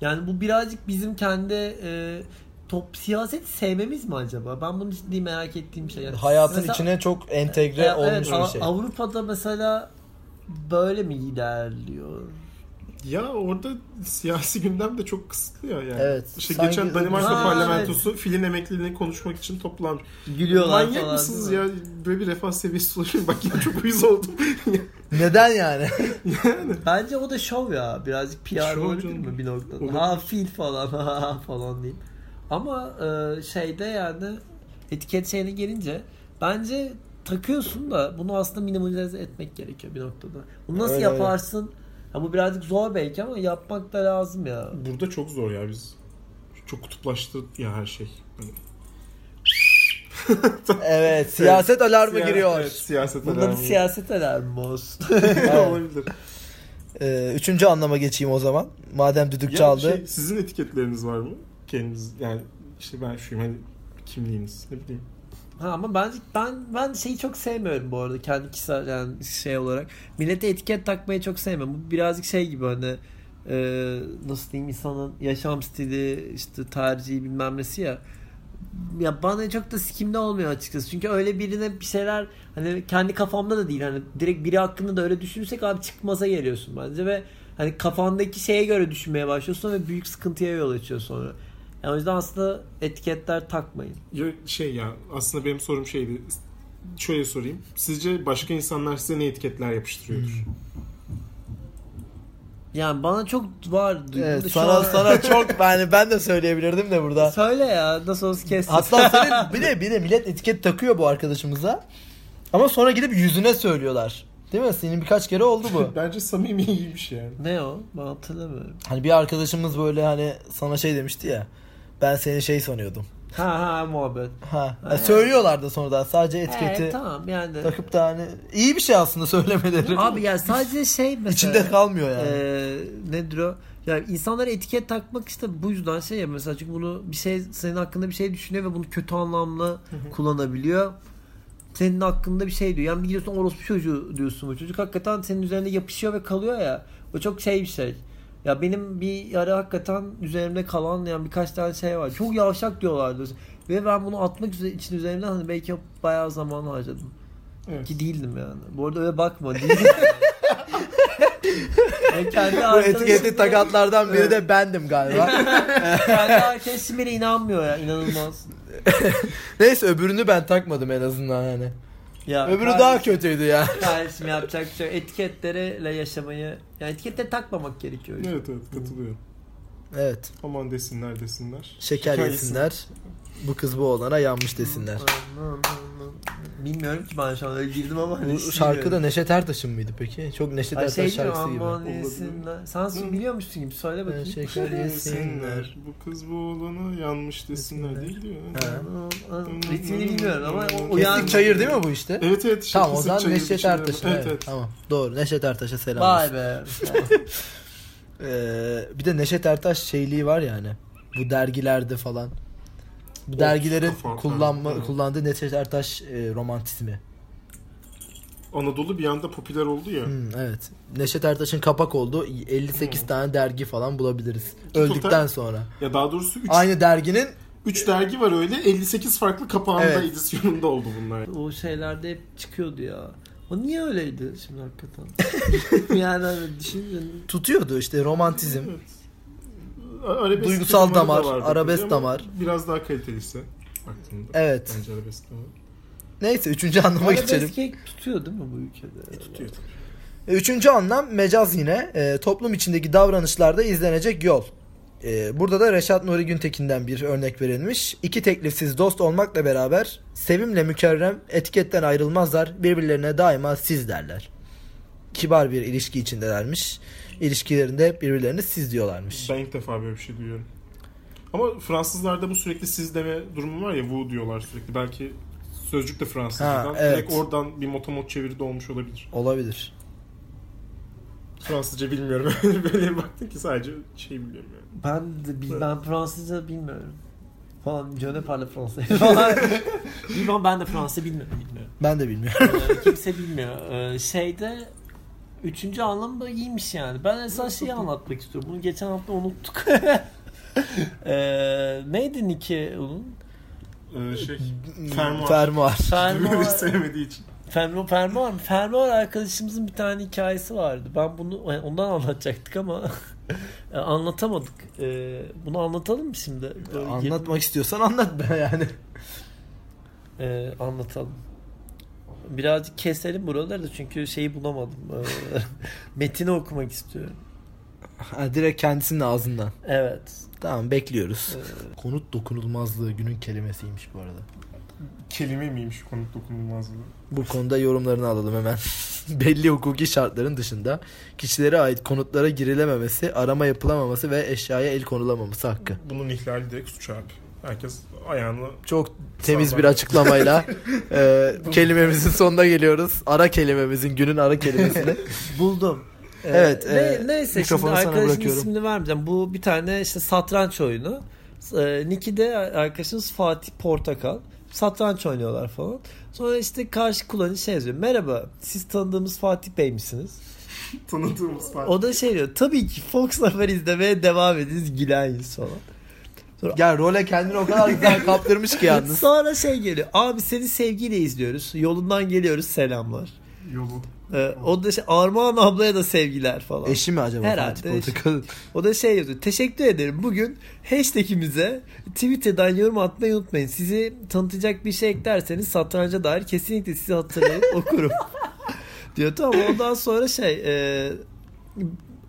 S2: Yani bu birazcık bizim kendi e, top siyaset sevmemiz mi acaba? Ben bunu ciddi merak ettiğim şey. Yani
S1: Hayatın
S2: mesela-
S1: içine çok entegre
S2: Ya
S1: olmuş
S2: Av-
S1: bir şey.
S2: Avrupa'da mesela böyle mi ilerliyor?
S3: Ya orada siyasi gündem de çok kısıtlı ya yani.
S1: Evet.
S3: İşte
S1: Sanki-
S3: geçen Danimarka
S2: Ha,
S3: parlamentosu filin emekliliğini konuşmak için toplanmış.
S2: Gülüyorlar
S3: Manyak
S2: falan,
S3: mısınız
S2: değil mi?
S3: ya? Böyle bir refah seviyesi ulaşıyor. Bak ya çok uyuz oldum.
S1: Neden yani?
S2: Bence o da şov ya. Birazcık PR
S3: Şov
S2: olabilir
S3: canım.
S2: mi bir noktada?
S3: Olur.
S2: Ha fil falan ha, ha falan diyeyim. Ama e, şeyde yani etiket şeyine gelince bence takıyorsun da bunu aslında minimalize etmek gerekiyor bir noktada. Bunu nasıl
S1: Öyle, öyle.
S2: yaparsın? Ha, bu birazcık zor belki ama yapmak da lazım ya.
S3: Burada çok zor ya biz. Çok kutuplaştı ya her şey. Hani
S1: evet, siyaset alarmı
S3: siya-
S1: giriyor.
S3: Evet, siyaset
S2: Bunda bir
S3: alarmı.
S2: siyaset alarmı olsun.
S3: Olabilir.
S1: Ee, üçüncü anlama geçeyim o zaman. Madem düdük
S3: Ya
S1: çaldı.
S3: şey, sizin etiketleriniz var mı? Kendiniz yani işte ben şuyum hani kimliğiniz ne bileyim.
S2: Ha ama ben ben ben şeyi çok sevmiyorum bu arada kendi kişisel yani şey olarak. Millete etiket takmayı çok sevmiyorum. Bu birazcık şey gibi hani e, nasıl diyeyim insanın yaşam stili işte tercihi bilmem nesi ya. Ya bana çok da sikimde olmuyor açıkçası. Çünkü öyle birine bir şeyler hani kendi kafamda da değil hani direkt biri hakkında da öyle düşünürsek abi çıkmaza geliyorsun bence ve hani kafandaki şeye göre düşünmeye başlıyorsun ve büyük sıkıntıya yol açıyor sonra. Yani o yüzden aslında etiketler takmayın.
S3: Ya şey ya aslında benim sorum şeydi. Şöyle sorayım. Sizce başka insanlar size ne etiketler yapıştırıyordur?
S1: Hmm.
S2: Yani bana çok var duygum da
S1: Evet,
S2: şu
S1: sana
S2: an-
S1: sana çok yani ben de söyleyebilirdim de burada.
S2: Söyle ya nasıl olsa kes.
S1: Hatta senin bir de bir de millet etiket takıyor bu arkadaşımıza. Ama sonra gidip yüzüne söylüyorlar. Değil mi? Senin birkaç kere oldu bu.
S3: Bence samimi iyiymiş yani.
S2: Ne o? Ben hatırlamıyorum.
S1: Hani bir arkadaşımız böyle hani sana şey demişti ya. Ben seni şey sanıyordum.
S2: Ha ha muhabbet.
S1: Ha. yani söylüyorlar da sonradan sadece
S2: Evet
S1: etiketi
S2: tamam yani.
S1: takıp da hani iyi bir şey aslında söylemeleri.
S2: Abi yani sadece şey mesela.
S1: İçinde kalmıyor yani.
S2: Ee, nedir o? Yani insanlara etiket takmak işte bu yüzden şey ya mesela çünkü bunu bir şey senin hakkında bir şey düşünüyor ve bunu kötü anlamla kullanabiliyor. Senin hakkında bir şey diyor. Yani bir gidiyorsun orospu çocuğu diyorsun bu çocuk. Hakikaten senin üzerinde yapışıyor ve kalıyor ya. O çok şey bir şey. Ya benim bir ara hakikaten üzerimde kalan yani birkaç tane şey var. Çok yavşak diyorlardı. Ve ben bunu atmak üzere, için üzerimden hani belki bayağı zaman harcadım.
S3: Evet.
S2: Ki değildim yani. Bu arada öyle bakma. Değildim. yani kendi
S1: bu
S2: arkadaşım-
S1: etiketi takatlardan biri de bendim galiba.
S2: kendi arkadaşım bile inanmıyor ya. inanılmaz.
S1: Neyse öbürünü ben takmadım en azından hani.
S2: Ya,
S1: Öbürü
S2: kardeşim-
S1: daha kötüydü ya.
S2: Kardeşim yapacak bir şey yok. etiketlerle yaşamayı. Yani etiketleri takmamak gerekiyor.
S3: Evet evet
S1: Hmm.
S3: katılıyorum.
S1: Evet.
S3: Aman desinler desinler.
S1: Şeker
S3: Şeker
S1: yesinler. Bu kız bu olana yanmış desinler.
S2: Bilmiyorum ki ben şu an öyle girdim ama hani
S1: Bu
S2: hiç
S1: şarkı da
S2: bilmiyorum.
S1: Neşet Ertaş'ın mıydı peki? Çok Neşet
S2: Ay
S1: Ertaş
S2: şey diyor
S1: şarkısı gibi. Ee, şey,
S2: aman yesinler. Sen
S3: Hı.
S2: biliyormuşsun gibi söyle bakayım.
S1: Ha, Şeker yesinler.
S3: Bu kız bu oğlanı yanmış desinler değil diyor.
S1: Ha.
S2: Ritmini bilmiyorum ama o uyan
S1: Kesik çayır değil mi bu işte?
S3: Evet evet.
S1: Tamam o
S3: Kesin
S1: zaman
S3: çayır
S1: Neşet
S3: içinde.
S1: Ertaş'ın.
S3: Evet
S1: evet,
S3: evet.
S1: Tamam. Doğru. Neşet Ertaş'a selam
S2: Vay
S1: olsun.
S2: be.
S1: Ee, bir de Neşet Ertaş şeyliği var yani. Bu dergilerde falan. Bu dergilerin
S3: kafa-
S1: kullanma
S3: Evet.
S1: kullandığı Neşet Ertaş e, romantizmi.
S3: Anadolu bir anda popüler oldu ya.
S1: Hmm, evet. Neşet Ertaş'ın kapak oldu. 58
S3: Hmm.
S1: tane dergi falan bulabiliriz.
S3: Ki
S1: Öldükten
S3: fotoğraf-
S1: sonra.
S3: Ya daha doğrusu
S1: Aynı derginin
S3: 3 dergi var öyle. 58 farklı kapağında
S1: Evet.
S3: edisyonunda oldu bunlar.
S2: O şeylerde hep çıkıyordu ya. O niye öyleydi şimdi hakikaten? yani hani düşününce
S1: tutuyordu işte romantizm.
S3: Arabesk
S1: Duygusal
S3: filmleri de
S1: damar,
S3: vardı
S1: arabesk
S3: tabii ama
S1: damar.
S3: Biraz daha kalitelisi baktığında.
S1: Evet.
S3: Bence arabesk damar.
S1: Neyse üçüncü anlama geçelim.
S2: arabesk kek tutuyor değil mi bu ülkede?
S3: Tutuyor tabii.
S1: Üçüncü anlam mecaz yine. E, toplum içindeki davranışlarda izlenecek yol. E, burada da Reşat Nuri Güntekin'den bir örnek verilmiş. İki teklifsiz dost olmakla beraber sevimle mükerrem etiketten ayrılmazlar. Birbirlerine daima siz derler. Kibar bir ilişki içindelermiş. İlişkilerinde hep birbirlerine siz diyorlarmış.
S3: Ben ilk defa böyle bir şey duyuyorum. Ama Fransızlarda bu sürekli siz deme durumu var ya Vous diyorlar sürekli. Belki sözcük de Fransızcadan.
S1: Ha, evet.
S3: Direkt oradan bir motomot çeviri de olmuş olabilir.
S1: Olabilir.
S3: Fransızca bilmiyorum. böyle baktım ki sadece şey biliyorum yani.
S2: Ben de bil- ben Fransızca bilmiyorum. Falan Jone parle français falan. Bilmem ben de Fransızca bilmiyorum. bilmiyorum.
S1: Ben de bilmiyorum.
S2: Ee, kimse bilmiyor. Ee, şeyde üçüncü anlamı da iyiymiş yani. Ben esas şeyi anlatmak istiyorum. Bunu geçen hafta unuttuk. ee, neydi Nike onun?
S3: Ee, şey, fermuar.
S1: Fermuar.
S3: Fermuar.
S2: Fermuar.
S3: sevmediği için.
S2: Fermuar, Fermuar mı? Fermuar arkadaşımızın bir tane hikayesi vardı. Ben bunu ondan anlatacaktık ama e, anlatamadık. E, Bunu anlatalım mı şimdi? Böyle yirmi-
S1: Anlatmak istiyorsan anlat be yani.
S2: E, anlatalım. Birazcık keselim buraları da çünkü şeyi bulamadım. E, metini okumak istiyorum.
S1: Ha, direkt kendisinin ağzından.
S2: Evet.
S1: Tamam bekliyoruz.
S2: E,
S1: Ee, Konut dokunulmazlığı günün kelimesiymiş bu arada.
S3: Kelime miymiş konut dokunulmazlığı?
S1: Bu konuda yorumlarını alalım hemen. Belli hukuki şartların dışında kişilere ait konutlara girilememesi, arama yapılamaması ve eşyaya el konulamaması hakkı.
S3: Bunun ihlali direkt suç abi. Herkes ayağını
S1: Çok temiz
S3: Sağ
S1: bir
S3: ol.
S1: açıklamayla e, kelimemizin sonuna geliyoruz. Ara kelimemizin, günün ara kelimesini.
S2: buldum. E,
S1: Evet,
S2: ne-
S1: e,
S2: neyse şimdi
S1: mikrofonu sana
S2: arkadaşın
S1: bırakıyorum.
S2: ismini vermeyeceğim. Bu bir tane işte satranç oyunu. E, Niki'de arkadaşımız Fatih Portakal. Satranç oynuyorlar falan. Sonra işte karşı kullanıcı şey yazıyor. Merhaba siz tanıdığımız Fatih Bey misiniz?
S3: tanıdığımız falan.
S2: O da şey diyor. Tabii ki Fox Haber izlemeye devam ediniz gülen yüz falan.
S1: ya role kendini o kadar güzel kaptırmış ki yalnız.
S2: Sonra şey geliyor. Abi seni sevgiyle izliyoruz. Yolundan geliyoruz selamlar.
S3: Yolu.
S2: Ee, o da şey Armağan ablaya da sevgiler falan.
S1: Eşi mi acaba
S2: Herhalde
S1: Fatih Portakal?
S2: O da şey yazıyor. Teşekkür ederim. Bugün hashtag'imize Twitter'dan yorum atmayı unutmayın. Sizi tanıtacak bir şey eklerseniz satranca dair kesinlikle sizi hatırlayıp okurum. diyor tamam ondan sonra şey e,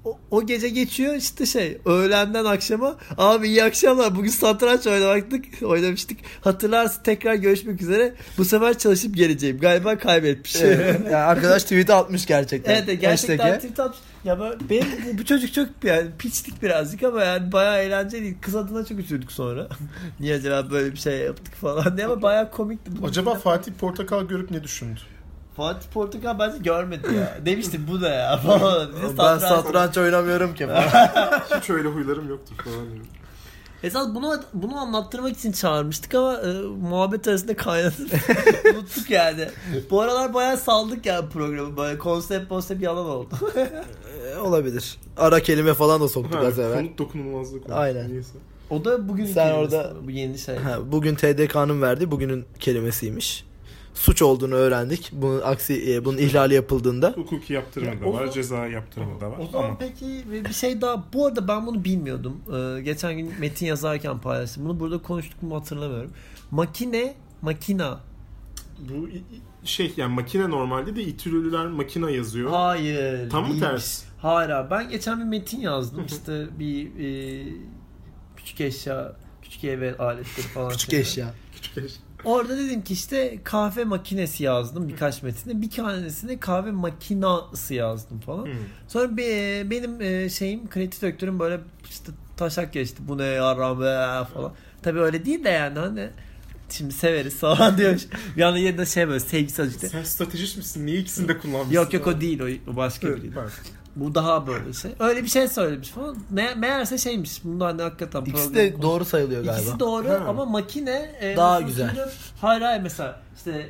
S2: o, o gece geçiyor işte şey öğlenden akşama abi iyi akşamlar bugün satranç oynamıştık oynamıştık hatırlarsın tekrar görüşmek üzere bu sefer çalışıp geleceğim galiba kaybetmiş.
S1: Evet, yani arkadaş tweet'i atmış gerçekten.
S2: Evet de gerçekten
S1: Hashtag'e.
S2: tweet atmış. Ya ben- benim bu, bu çocuk çok yani piçlik birazcık ama yani bayağı eğlenceliydi. Kız adına çok üzüldük sonra. Niye acaba böyle bir şey yaptık falan diye ama bayağı komikti. Bu-
S3: Acaba Fatih Portakal görüp ne düşündü?
S2: Fatih Portakal bence görmedi ya. Demiştim bu da ya falan. Bize
S1: Ben
S2: satranç-
S1: satranç oynamıyorum ki.
S3: Hiç öyle huylarım yoktur falan diyor.
S2: Esas bunu bunu anlattırmak için çağırmıştık ama e, muhabbet arasında kaynadı. Unuttuk yani. Bu aralar bayağı saldık yani programı. Böyle konsept konsept yalan oldu.
S1: Ee, Olabilir. Ara kelime falan da soktuk
S3: Ha,
S1: az evvel.
S3: konut dokunulmazlığı konusu.
S1: Aynen.
S3: Neyse.
S2: O da bugün
S1: Sen orada-
S2: bu yeni şey.
S1: Ha, bugün TDK'nın verdiği bugünün kelimesiymiş. Suç olduğunu öğrendik. Bunun aksi e, bunun ihlali yapıldığında.
S3: Hukuki yaptırımı
S2: Ya,
S3: da
S2: o
S3: var,
S2: zaman-
S3: ceza yaptırımı da var.
S2: O zaman
S3: Ama
S2: peki bir şey daha. Bu arada ben bunu bilmiyordum. Ee, geçen gün metin yazarken paylaştım. Bunu burada konuştuk mu hatırlamıyorum. Makine, makina.
S3: bu i- i- şey yani makine normalde de İtülülüler makine yazıyor.
S2: Hayır.
S3: Tam mı
S2: değilmiş.
S3: ters?
S2: Hayır abi. Ben geçen bir metin yazdım. İşte bir e, küçük eşya, küçük ev ve aletleri falan.
S1: Küçük
S2: şeyler.
S1: eşya.
S3: Küçük eş-
S2: Orada dedim ki işte kahve makinesi yazdım birkaç metinde. Bir tanesine kahve makinası yazdım falan.
S3: Hı.
S2: Sonra be- benim e, şeyim kreatif direktörüm böyle işte taşak geçti. Bu ne yaram be falan. Tabii öyle değil de yani hani şimdi severiz falan diyormuş. Bir anda yerine şey böyle sevgisi acıktı.
S3: Sen stratejist misin? Niye ikisini de kullanmışsın?
S2: Yok yok o değil o, o başka
S3: Evet,
S2: biriydi.
S3: bak.
S2: Bu daha böyle şey. Öyle bir şey söylemiş falan. Me- meğerse şeymiş. Bunlar hani hakikaten
S1: İkisi
S2: programın
S1: de doğru sayılıyor
S2: İkisi
S1: galiba.
S2: doğru
S3: Ha.
S2: ama makine e,
S1: Daha
S2: mesela
S1: güzel.
S2: şimdi- hayır hayır mesela işte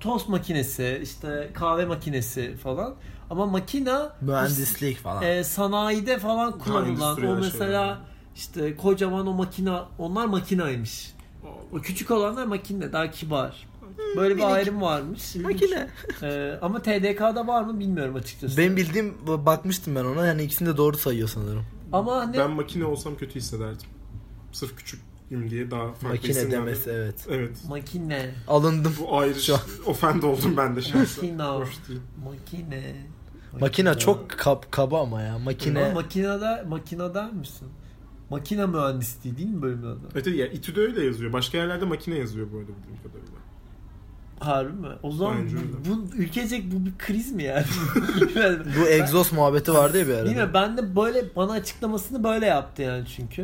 S2: tost makinesi, işte kahve makinesi falan. Ama makina
S1: Mühendislik falan.
S2: e, sanayide falan kullanılan.
S3: endüstriyel
S2: O mesela
S3: şeyler.
S2: işte kocaman o makina, onlar makinaymış. O küçük olanlar makine, daha kibar. Böyle bir ayrım varmış.
S1: Makine.
S2: E, ama TDK'da var mı bilmiyorum açıkçası.
S1: Ben bildiğim bakmıştım ben ona. Yani ikisini de doğru sayıyor sanırım.
S2: ama hani
S3: Ben makine olsam kötü hissederdim. Sırf küçüküm diye daha farklı
S1: Makine
S3: isimlerle-
S1: demesi evet.
S3: Evet.
S2: makine,
S1: Alındım.
S3: Bu ayrı
S1: Şu an-
S3: ofend oldum ben de şahsen.
S2: Makina.
S3: Hoş değil.
S2: makine.
S1: Makine çok kab- kaba ama ya.
S2: Ama
S1: Makine.
S2: makinede, makineder misin? Makine mühendisliği değil mi bölümün adı?
S3: Evet ya İTÜ'de öyle yazıyor. Başka yerlerde makine yazıyor bu arada bildiğim kadarıyla.
S2: Harbi mi? O zaman
S3: Bence
S2: bu,
S3: öyle.
S2: bu ülkecek bu bir kriz mi yani?
S1: Bu egzoz muhabbeti vardı ya bir
S2: Değil mi?
S1: arada.
S2: Ben de böyle bana açıklamasını böyle yaptı yani çünkü.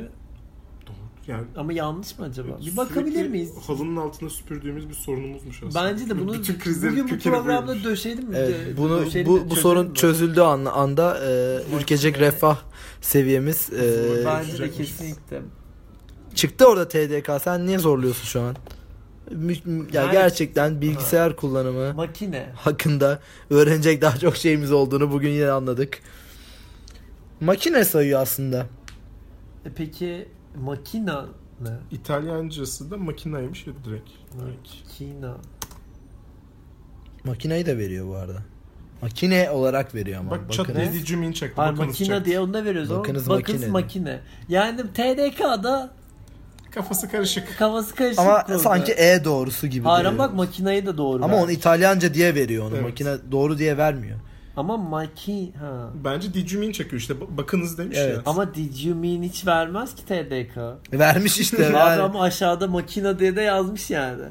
S3: Doğru. Yani
S2: Ama yanlış mı acaba? Bir
S3: sürekli
S2: bakabilir miyiz?
S3: Halının altına süpürdüğümüz bir sorunumuzmuş aslında.
S2: Bence de bunu
S3: Bütün krizlerin
S2: bugün bu
S3: kökeni
S2: programda
S3: buymuş.
S2: döşeyelim mi?
S1: Evet,
S2: Dö-
S1: bunu
S2: döşeyelim mi?
S1: bu, bu
S2: Çözelim
S1: sorun
S2: mi?
S1: çözüldüğü an, anda e, ülkecek refah seviyemiz e,
S2: Bence de
S3: çözecekmiş.
S2: kesinlikle.
S1: çıktı orada TDK. Sen niye zorluyorsun şu an? Mü- mü- Ya
S2: Yani-
S1: gerçekten bilgisayar kullanımı
S2: Makine.
S1: hakkında öğrenecek daha çok şeyimiz olduğunu bugün yine anladık. Makine sayıyor aslında.
S2: E peki makina ne?
S3: İtalyancası da makinaymış ya direkt.
S2: Makina.
S1: Makineyi de veriyor bu arada. Makine olarak veriyor ama.
S3: Bak
S1: Bak,
S3: çat
S1: bakın.
S3: dediği cümleyi çaktı.
S2: Hayır
S3: Bakınız
S2: makina
S3: çaktı.
S2: diye onu da veriyoruz ama bakınız
S1: Bakınız
S2: makine.
S1: makine.
S2: Yani TDK'da
S3: Kafası karışık.
S2: kafası karışık
S1: Ama
S2: konuda.
S1: sanki E doğrusu gibi.
S2: Hayır ama
S1: duruyor.
S2: bak makinayı da doğru.
S1: Ama
S2: ver.
S1: onu İtalyanca diye veriyor onu.
S3: Evet.
S1: Makine doğru diye vermiyor.
S2: Ama maki ha.
S3: Bence dicumin çakıyor işte. Ba- Bakınız demiş
S1: Evet.
S3: ya.
S2: Ama did you mean hiç vermez ki TDK.
S1: Vermiş işte.
S2: Abi
S1: yani.
S2: ama aşağıda makina diye de yazmış yani.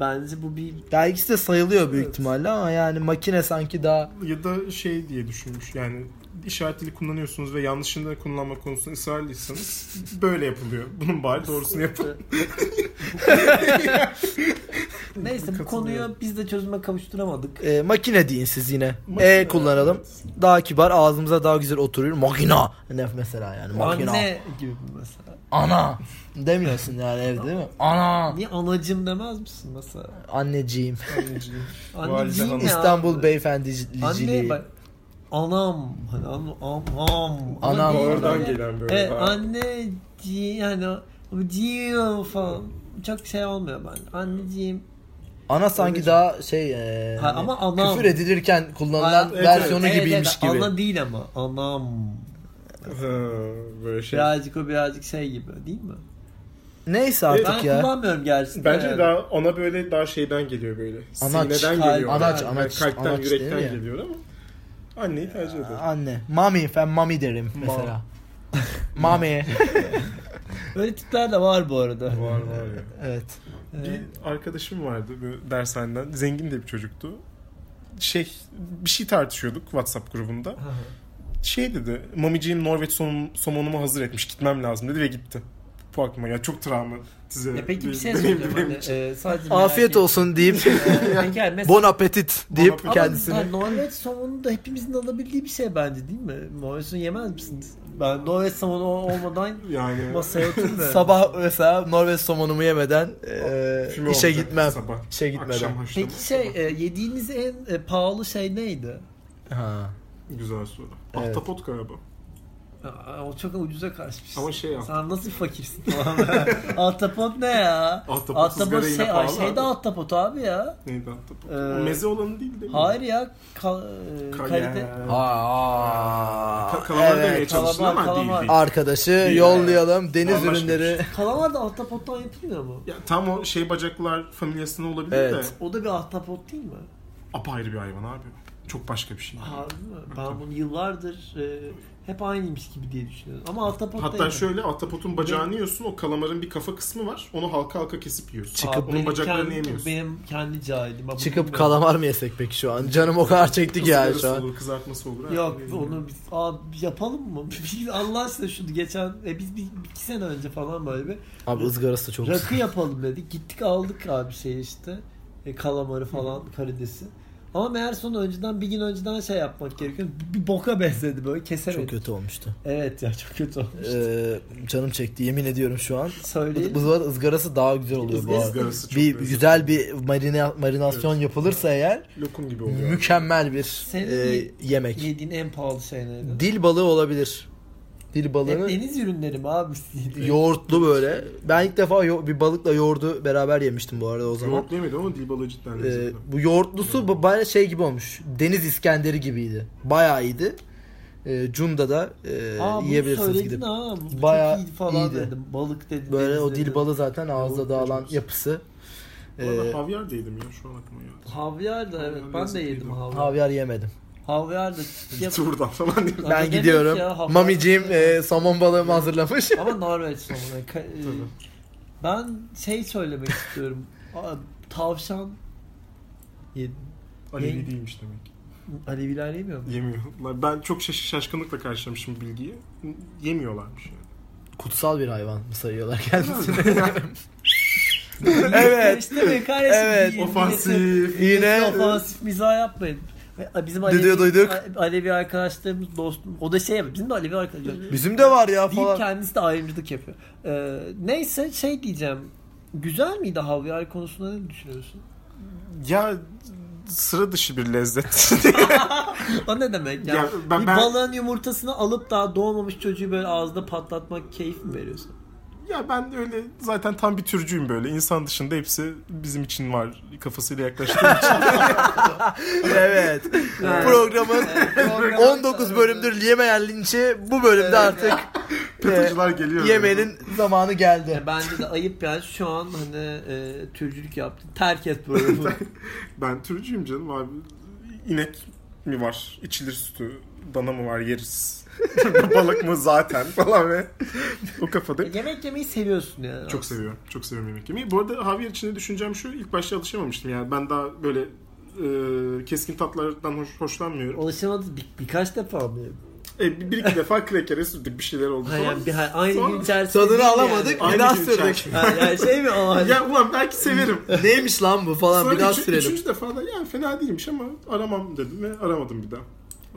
S2: Bence bu bir
S1: Ya ikisi de sayılıyor büyük
S3: Evet.
S1: ihtimalle ama yani makine sanki daha
S3: ya da şey diye düşünmüş yani işaret dili kullanıyorsunuz ve yanlışını da kullanma konusunda ısrarlıysanız böyle yapılıyor. Bunun bari doğrusunu yapın.
S2: Neyse bu
S3: Katılıyorum.
S2: konuyu biz de çözüme kavuşturamadık.
S1: e, makine deyin siz yine.
S3: Makine,
S1: e kullanalım. Daha kibar ağzımıza daha güzel oturuyor. Makina. Ne mesela yani makina.
S2: Anne gibi mesela.
S1: Ana. Demiyorsun yani evde değil mi? Ana.
S2: Niye anacım demez misin mesela?
S1: Anneciğim.
S3: Anneciğim. Valide
S2: Anneciğim
S3: hanım.
S2: ya.
S1: İstanbul
S2: Anne
S1: beyefendiciliği.
S2: bak. Anam. Hani an- anam.
S1: Anam.
S2: Ama değil
S3: Oradan
S2: böyle.
S3: gelen böyle.
S1: E,
S2: Evet
S3: daha-
S2: anneciğim yani o- ciğim falan çok şey olmuyor bence. Anneciğim.
S1: Ana sanki
S3: Anneciğim.
S1: daha şey e,
S2: Ha,
S1: hani
S2: ama anam.
S1: küfür edilirken kullanılan
S2: Ay-
S3: evet,
S1: versiyonu
S2: Evet,
S1: gibiymiş
S2: evet,
S1: gibi.
S2: Ana değil ama anam.
S3: Ha, böyle şey.
S2: Birazcık o birazcık şey gibi değil mi?
S1: Neyse artık
S2: ben
S1: ya.
S2: kullanmıyorum gerçi. de
S3: Bence
S2: yani.
S3: daha ona böyle daha şeyden geliyor böyle.
S1: Anaç,
S3: Sineden
S2: kalp-
S3: geliyor.
S1: anaç,
S3: Yani
S1: anaç,
S3: Kalpten,
S1: anaç değil
S3: yürekten
S1: mi ya?
S3: geliyor ama anneyi tercih ederim.
S1: Anne. Mami. Ben mami derim mesela. mami.
S2: Öyle tipler de var bu arada.
S3: Var var ya.
S1: evet.
S2: Ee,
S3: Bir arkadaşım vardı bu dershaneden. Zengin de bir çocuktu. Şey bir şey tartışıyorduk WhatsApp grubunda.
S2: aha.
S3: Şey dedi. Mamiciğim Norveç som- somonumu hazır etmiş. Gitmem lazım dedi ve gitti. Bu aklıma ya çok travmatize.
S2: ya peki bir şey
S3: deneyimdi
S2: söyleyeceğim.
S3: benim
S2: Hani,
S3: için.
S2: e, sadece merak
S1: Afiyet
S2: ettim.
S1: olsun deyip
S2: Ee, peki yani mesela-
S1: bon appetit deyip
S3: appetit.
S1: kendisini.
S2: Ama Norveç somonu da hepimizin alabildiği bir şey bence değil mi? Norveç'ini yemez misiniz? Ben Norveç somonu olmadan
S3: Yani
S2: masaya oturmuyorum.
S1: Sabah mesela Norveç somonumu yemeden e,
S3: Füme
S1: işe
S3: olacak
S1: gitmem.
S3: sabah.
S1: İşe gitmeden.
S3: Akşam haşlama.
S2: Peki şey e, yediğiniz en e, pahalı şey neydi?
S1: Ha.
S3: Güzel soru.
S1: Evet.
S3: Ahtapot galiba.
S2: Aa, O çok ucuza kaçmış.
S3: Ama şey ya.
S2: Sen nasıl bir fakirsin tamam Ahtapot ne ya?
S3: Ahtapotsuz
S2: Ahtapot
S3: böreğine
S2: şey, ay,
S3: pahalı
S2: şey de
S3: abi.
S2: ahtapot abi ya.
S3: Neydi ahtapot?
S2: Ee,
S3: O meze olanı değil değil mi?
S2: Hayır ya. Ka- e,
S3: Ka-
S2: kalite.
S1: Aa,
S3: Ka- kalamar demeye
S1: evet.
S3: çalıştın
S2: kalamar,
S3: ama
S2: kalamar.
S3: değil. değil.
S1: Arkadaşı
S3: Değil
S1: yollayalım deniz
S3: Anlaşmış.
S1: ürünleri.
S2: Kalamar da ahtapottan yapılmıyor mu?
S3: Ya, tam o şey bacaklar familyasına olabilir
S1: Evet.
S3: de
S2: O da bir ahtapot değil mi?
S3: apayrı bir hayvan abi. Çok başka bir şey.
S2: Harbi mi? Ben bunu yıllardır e, hep aynıymış gibi diye düşünüyorum. Ama ahtapot
S3: Hatta
S2: değil.
S3: şöyle ahtapotun bacağını yiyorsun. O kalamarın bir kafa kısmı var. Onu halka halka kesip yiyorsun.
S1: Çıkıp-
S2: Abi
S3: onun
S2: benim
S3: bacaklarını
S2: kendi-
S3: yemiyorsun.
S2: Benim kendi cahilim. ama
S1: Çıkıp
S2: bilmiyorum.
S1: kalamar mı yesek peki şu an? Canım o kadar çekti ki yani şu
S3: Kızarısı
S1: an.
S3: olur, kızartması olur.
S2: Yok
S3: Her-
S2: onu biz abi yapalım mı? Biz Allah aşkına şunu geçen e, biz bir, iki sene önce falan böyle bir
S1: Abi ızgarası da çok
S2: rakı yapalım dedik. Gittik aldık abi şey işte. E, kalamarı falan karidesi. Ama meğer sonu önceden bir gün önceden şey yapmak gerekiyor. Bir boka benzedi böyle kesemedim.
S1: Çok kötü olmuştu.
S2: Evet ya çok kötü olmuş.
S1: Ee, canım çekti yemin ediyorum şu an.
S2: Söyleyelim.
S1: Bu bu arada ızgarası daha güzel oluyor bu arada.
S3: Izgarası çok
S1: Bir
S3: lezzetli.
S1: güzel bir marine, marinasyon yapılırsa eğer
S3: Lokum gibi oluyor.
S1: mükemmel bir
S2: Senin
S1: e,
S2: ye-
S1: yemek.
S2: Yediğin en pahalı şey neydi?
S1: Dil balığı olabilir. Dil
S2: Hep
S1: balığı
S2: deniz ürünleri mi abi?
S1: yoğurtlu böyle. Ben ilk defa yo- bir balıkla yoğurdu beraber yemiştim bu arada o zaman.
S3: Yoğurt yemedim ama dil balığı cidden
S1: Ee,
S3: lezzetli.
S1: bu yoğurtlusu bu baya şey gibi olmuş. Deniz İskenderi gibiydi. Bayağı iyiydi. Ee, Cunda da e,
S2: Aa, bunu
S1: yiyebilirsiniz
S2: söyledin
S1: gidip.
S2: ha. Bu
S1: Bayağı
S2: çok iyi falan
S1: iyiydi.
S2: dedim. Balık dedi.
S1: Böyle
S2: deniz
S1: o
S2: dedi.
S1: dil balığı zaten ağızda
S3: Yoğurt
S1: dağılan
S3: kocaman.
S1: yapısı.
S3: Bu arada
S1: Ee,
S3: havyar da yedim ya şu an aklıma geldi.
S2: Havyar da evet
S3: Havyar
S2: ben de
S3: lezzetliydi.
S2: yedim havyar.
S1: havyar yemedim.
S2: Havyar da
S3: Git buradan falan diye.
S2: Ya
S1: Ben
S2: ne demek
S1: gidiyorum.
S2: ya, havyar-
S1: Mamiciğim e, somon balığımı hazırlamış.
S2: Ama Norveç sonra. Ka- e,
S3: Tabii.
S2: ben şey söylemek istiyorum. Aa, Tavşan yedi.
S3: Alevi
S2: Ne?
S3: değilmiş demek. ki.
S2: Aleviler yemiyor mu?
S3: Yemiyorlar. Ben çok şaş- şaşkınlıkla karşılamışım bu bilgiyi. Yemiyorlarmış yani.
S1: Kutsal bir hayvan mı sayıyorlar kendisini?
S2: Evet.
S1: evet.
S2: İşte be kardeşim.
S1: Evet.
S2: yiyin, yiyin.
S3: Ofansif.
S2: Yine
S1: Yine
S2: ofansif mizah yapmayın. Bizim
S1: Duyduk, duyduk.
S2: Alevi arkadaşlarımız dostum o da şey yapıyor. Bizim de Alevi arkadaşlarımız.
S1: bizim de var ya
S2: Deyip
S1: falan.
S2: kendisi de ayrımcılık yapıyor. Ee, neyse şey diyeceğim. Güzel miydi havyar konusunda ne düşünüyorsun?
S3: Ya sıra dışı bir lezzet.
S2: O ne demek ya?
S3: Ya ben-
S2: bir
S3: ben-
S2: balığın yumurtasını alıp daha doğmamış çocuğu böyle ağızda patlatmak keyif mi veriyorsun?
S3: ya ben öyle zaten tam bir türcüyüm böyle. İnsan dışında hepsi bizim için var kafasıyla yaklaştığım için.
S1: evet. Programın 19 bölümdür yemeyen linçi bu bölümde artık e,
S3: Pıtıcılar geliyor.
S1: yemenin zamanı geldi.
S2: Ya Bence de ayıp yani şu an hani e, türcülük yaptın. Terk et programı.
S3: Ben türcüyüm canım abi. İnek mi var? İçilir sütü. Dana mı var? Yeriz. Balık mı zaten falan ve o kafada.
S2: E, Yemek yemeyi seviyorsun yani.
S3: Çok seviyorum. Çok seviyorum yemek yemeyi. Bu arada Javier için de düşüncem şu. ilk başta alışamamıştım yani. Ben daha böyle e, keskin tatlardan hoş- hoşlanmıyorum.
S2: Alışamadı bir, birkaç defa mı?
S3: E, bir- bir iki defa krekere sürdük bir şeyler oldu
S2: Hayır,
S3: falan.
S2: yani bir, hayır, aynı
S3: Sonra-
S2: gün içerisinde.
S1: Tadını
S2: değil
S1: alamadık.
S2: Yani.
S1: Bir
S3: Aynı
S1: daha
S3: gün
S1: sürdük.
S3: içerisinde.
S2: Ha, yani şey mi o hani?
S3: Ya ulan belki severim.
S1: Neymiş lan bu falan
S3: Sonra
S1: bir daha
S3: üçü-
S1: sürelim.
S3: üçüncü defada yani fena değilmiş ama aramam dedim ve aramadım bir daha.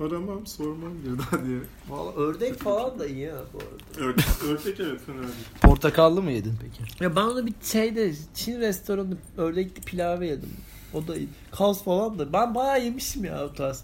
S3: Aramam, sormam bir daha diye.
S2: Vallahi ördek falan da iyi ha bu arada.
S3: Ördek, ördek evet fena değil.
S1: Portakallı mı yedin peki?
S2: Ya ben onu bir şeyde Çin restoranında ördekli pilavı yedim. O da iyi. Kaz falan da. Ben bayağı yemişim ya o tarz.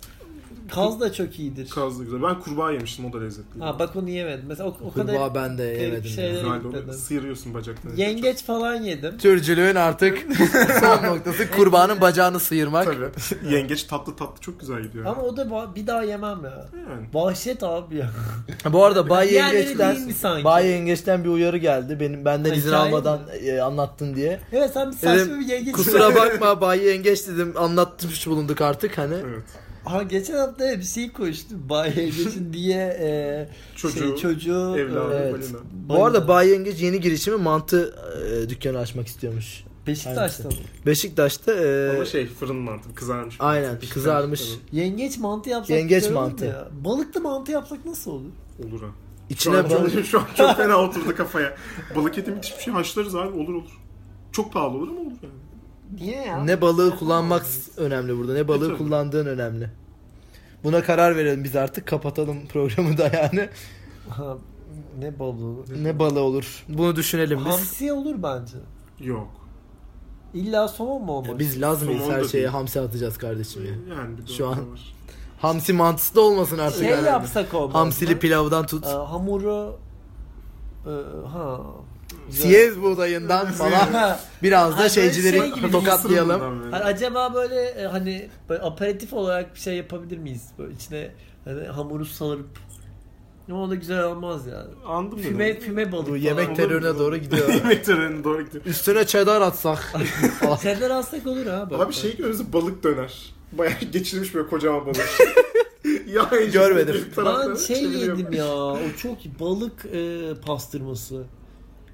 S2: Kaz da çok iyidir.
S3: Kaz da güzel. Ben kurbağa yemiştim o da lezzetli.
S2: Ha bak onu yemedim. Mesela o, o kadar
S1: Kurbağa ben de yemedim.
S2: şey-
S1: ya.
S3: Güzel de oluyor.
S2: Evet.
S3: Sıyırıyorsun bacaktan.
S2: yengeç falan yedim.
S1: Türcülüğün artık son noktası kurbanın bacağını sıyırmak.
S3: Tabii. Yengeç tatlı tatlı çok güzel gidiyor.
S2: Ama o da ba- bir daha yemem ya.
S3: yani.
S2: Vahşet abi ya.
S1: Bu arada Bay
S2: Diğerleri
S1: Yengeç'ten
S2: değil mi sanki?
S1: Bay Yengeç'ten bir uyarı geldi. Benim benden
S2: Ha,
S1: izin
S2: hikaye
S1: almadan e, anlattın diye.
S2: Evet sen bir saçma
S1: Dedim,
S2: bir yengeç.
S1: Kusura bakma Bay Yengeç dedim. Anlatmış bulunduk artık hani.
S3: Evet.
S2: Ha geçen hafta bir şey koştu. Bay Yengeç'in diye e,
S3: Çocuğu,
S2: şey, çocuğu
S3: evladı,
S2: e,
S1: evet.
S3: balina.
S1: Bu arada Bay Yengeç yeni girişimi mantı e, dükkanı açmak istiyormuş.
S2: Beşiktaş'ta mı?
S1: Beşiktaş'ta e,
S3: Ama şey fırın mantı kızarmış.
S1: aynen kızarmış.
S2: Yengeç mantı yapsak
S1: Yengeç
S2: güzel olur mu
S1: mantı.
S2: ya? Balıklı mantı yapsak nasıl olur?
S3: Olur ha. Şu an,
S1: İçine bal-
S3: çok, şu an çok fena oturdu kafaya. Balık eti müthiş bir şey. Haşlarız abi olur olur. Çok pahalı olur ama olur yani.
S2: Niye ya?
S1: ne balığı kullanmak önemli burada. Ne balığı
S3: E, tabii.
S1: kullandığın önemli. Buna karar verelim biz artık kapatalım programı da yani.
S2: Ha, ne balığı?
S1: Ne balığı olur? Bunu düşünelim biz.
S2: Hamsi olur bence.
S3: Yok.
S2: İlla somon mu olmalı?
S1: Ya Biz Laz mıyız
S3: Somon
S1: her
S3: da
S1: şeye
S3: değil.
S1: hamsi atacağız kardeşim ya.
S2: Ee,
S3: Yani bir de
S1: Şu
S3: o
S1: an-
S3: da var.
S1: Hamsi mantısı da olmasın artık.
S2: şey
S1: herhalde.
S2: yapsak olmaz
S1: Hamsili
S2: mı?
S1: pilavdan tut.
S2: Ee, hamuru e, ha.
S1: Siyez buğdayından falan.
S2: Ha,
S1: Biraz da
S2: Ay, böyle
S1: şeycileri
S2: şey gibi
S1: tokatlayalım.
S3: Mısırından
S2: hani
S3: böyle.
S2: acaba böyle e, hani böyle aperatif olarak bir şey yapabilir miyiz? Böyle içine hani hamuru sarıp. Ama o da güzel olmaz yani.
S3: Andım dedim.
S2: Füme, füme balık
S1: Bu
S2: falan.
S1: yemek terörüne doğru gidiyor.
S3: Yemek töreni doğru gidiyor.
S1: Üstüne çedar atsak. falan.
S2: Şeyler alsak olur ha. bak.
S3: Abi şey görüyorsun balık döner. Bayağı geçirmiş böyle kocaman balık. ya
S1: Görmedim.
S2: Ben şey yedim ya. O çok iyi. Balık e, pastırması.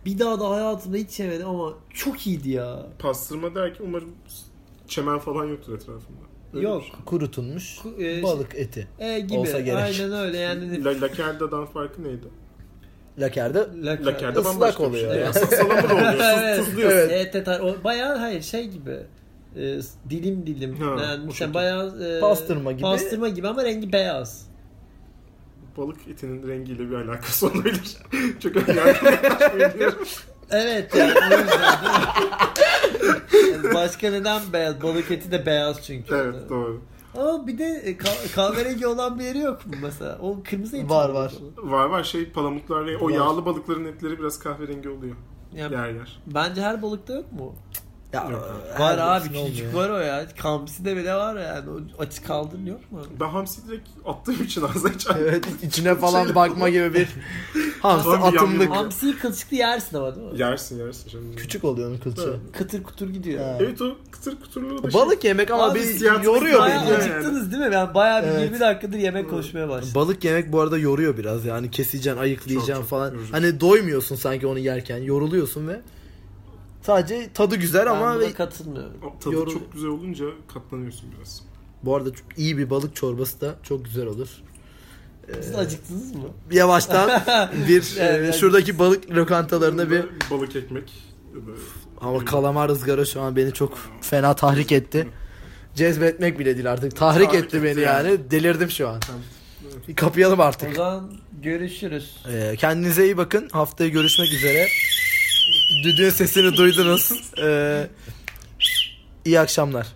S2: Bir daha da hayatımda hiç yemedim ama çok iyiydi ya.
S3: Pastırma derken umarım çemen falan yoktur etrafında. Öyle şey.
S2: Yok.
S1: Kurutulmuş
S2: Ku- e,
S1: balık eti.
S2: E, gibi.
S1: Olsa gerek.
S2: Aynen öyle yani. hani
S3: La, lakerdadan farkı neydi?
S1: Lakerde
S2: Lak-
S3: Lakerda
S1: Islak
S3: bambaşka
S1: oluyor
S3: bir şey.
S1: yani.
S3: Salamura oluyor. Tuz,
S2: evet.
S3: tuzluyorsun.
S2: Evet. evet, evet. O bayağı hayır şey gibi. e, dilim dilim.
S3: Ha,
S2: yani
S3: o
S2: mesela
S3: şekil.
S2: bayağı e,
S1: Pastırma gibi.
S2: Pastırma gibi ama rengi beyaz.
S3: Balık etinin rengiyle bir alakası olabilir. Çok ön yargılı
S2: Evet yani o yüzden değil mi? Yani Başka neden beyaz? Balık eti de beyaz çünkü.
S3: Evet doğru.
S2: Ama bir de e, ka- kahverengi olan bir yeri yok mu mesela? O kırmızı et
S1: Var,
S2: mi?
S1: var.
S3: Var var şey palamutlar ve o
S1: Var.
S3: yağlı balıkların etleri biraz kahverengi oluyor.
S2: Yani
S3: Yer yer.
S2: Bence her balıkta yok mu?
S1: Ya,
S2: Var
S1: her
S2: abi
S1: hepsinde
S2: küçük
S1: olmuyor.
S2: var o ya. Kamsi de bile var yani. O açık kaldırın yok mu?
S3: Ben hamsi direkt attığım için ağza hiç
S1: Evet içine falan bakma gibi bir hamsi
S3: Zombi
S1: atımlık.
S3: yamyam.
S2: Hamsiyi kılçıklı yersin ama değil mi?
S3: Yersin yersin. Canım.
S1: Küçük oluyor onun kılçığı.
S2: Kıtır kutur gidiyor.
S1: Ha.
S3: Evet o kıtır kuturlu da şey.
S1: Balık yemek ama
S2: Abi
S1: bir
S3: siyah-
S1: yoruyor
S2: Bayağı
S1: beni.
S3: yani.
S2: acıktınız değil mi? Ben bayağı bir
S1: Evet.
S2: 20 dakikadır yemek koşmaya başladım.
S1: Balık yemek bu arada yoruyor biraz yani keseceksin, ayıklayacaksın
S3: Çok, çok
S1: falan.
S3: yorucu.
S1: Hani doymuyorsun sanki onu yerken. Yoruluyorsun ve sadece tadı güzel ama
S2: ben buna katılmıyorum.
S3: O şey- tadı
S1: Yorul-
S3: çok güzel olunca katlanıyorsun biraz.
S1: bu arada çok iyi bir balık çorbası da çok güzel olur. Ee.
S2: Siz acıktınız mı?
S1: Yavaştan bir
S2: Evet.
S1: e, şuradaki balık lokantalarına bir
S3: Böyle Balık ekmek. Böyle
S1: ama kalamar ızgara şu an beni çok fena tahrik etti. Cezbetmek bile değil artık. Tahrik,
S3: Tahrik
S1: etti
S3: etti
S1: beni
S3: yani.
S1: yani. Delirdim şu an.
S3: Tamam.
S1: Kapayalım artık.
S2: O zaman görüşürüz.
S1: Ee, kendinize iyi bakın. Haftaya görüşmek üzere. Düdüğün sesini duydunuz. Ee, iyi akşamlar.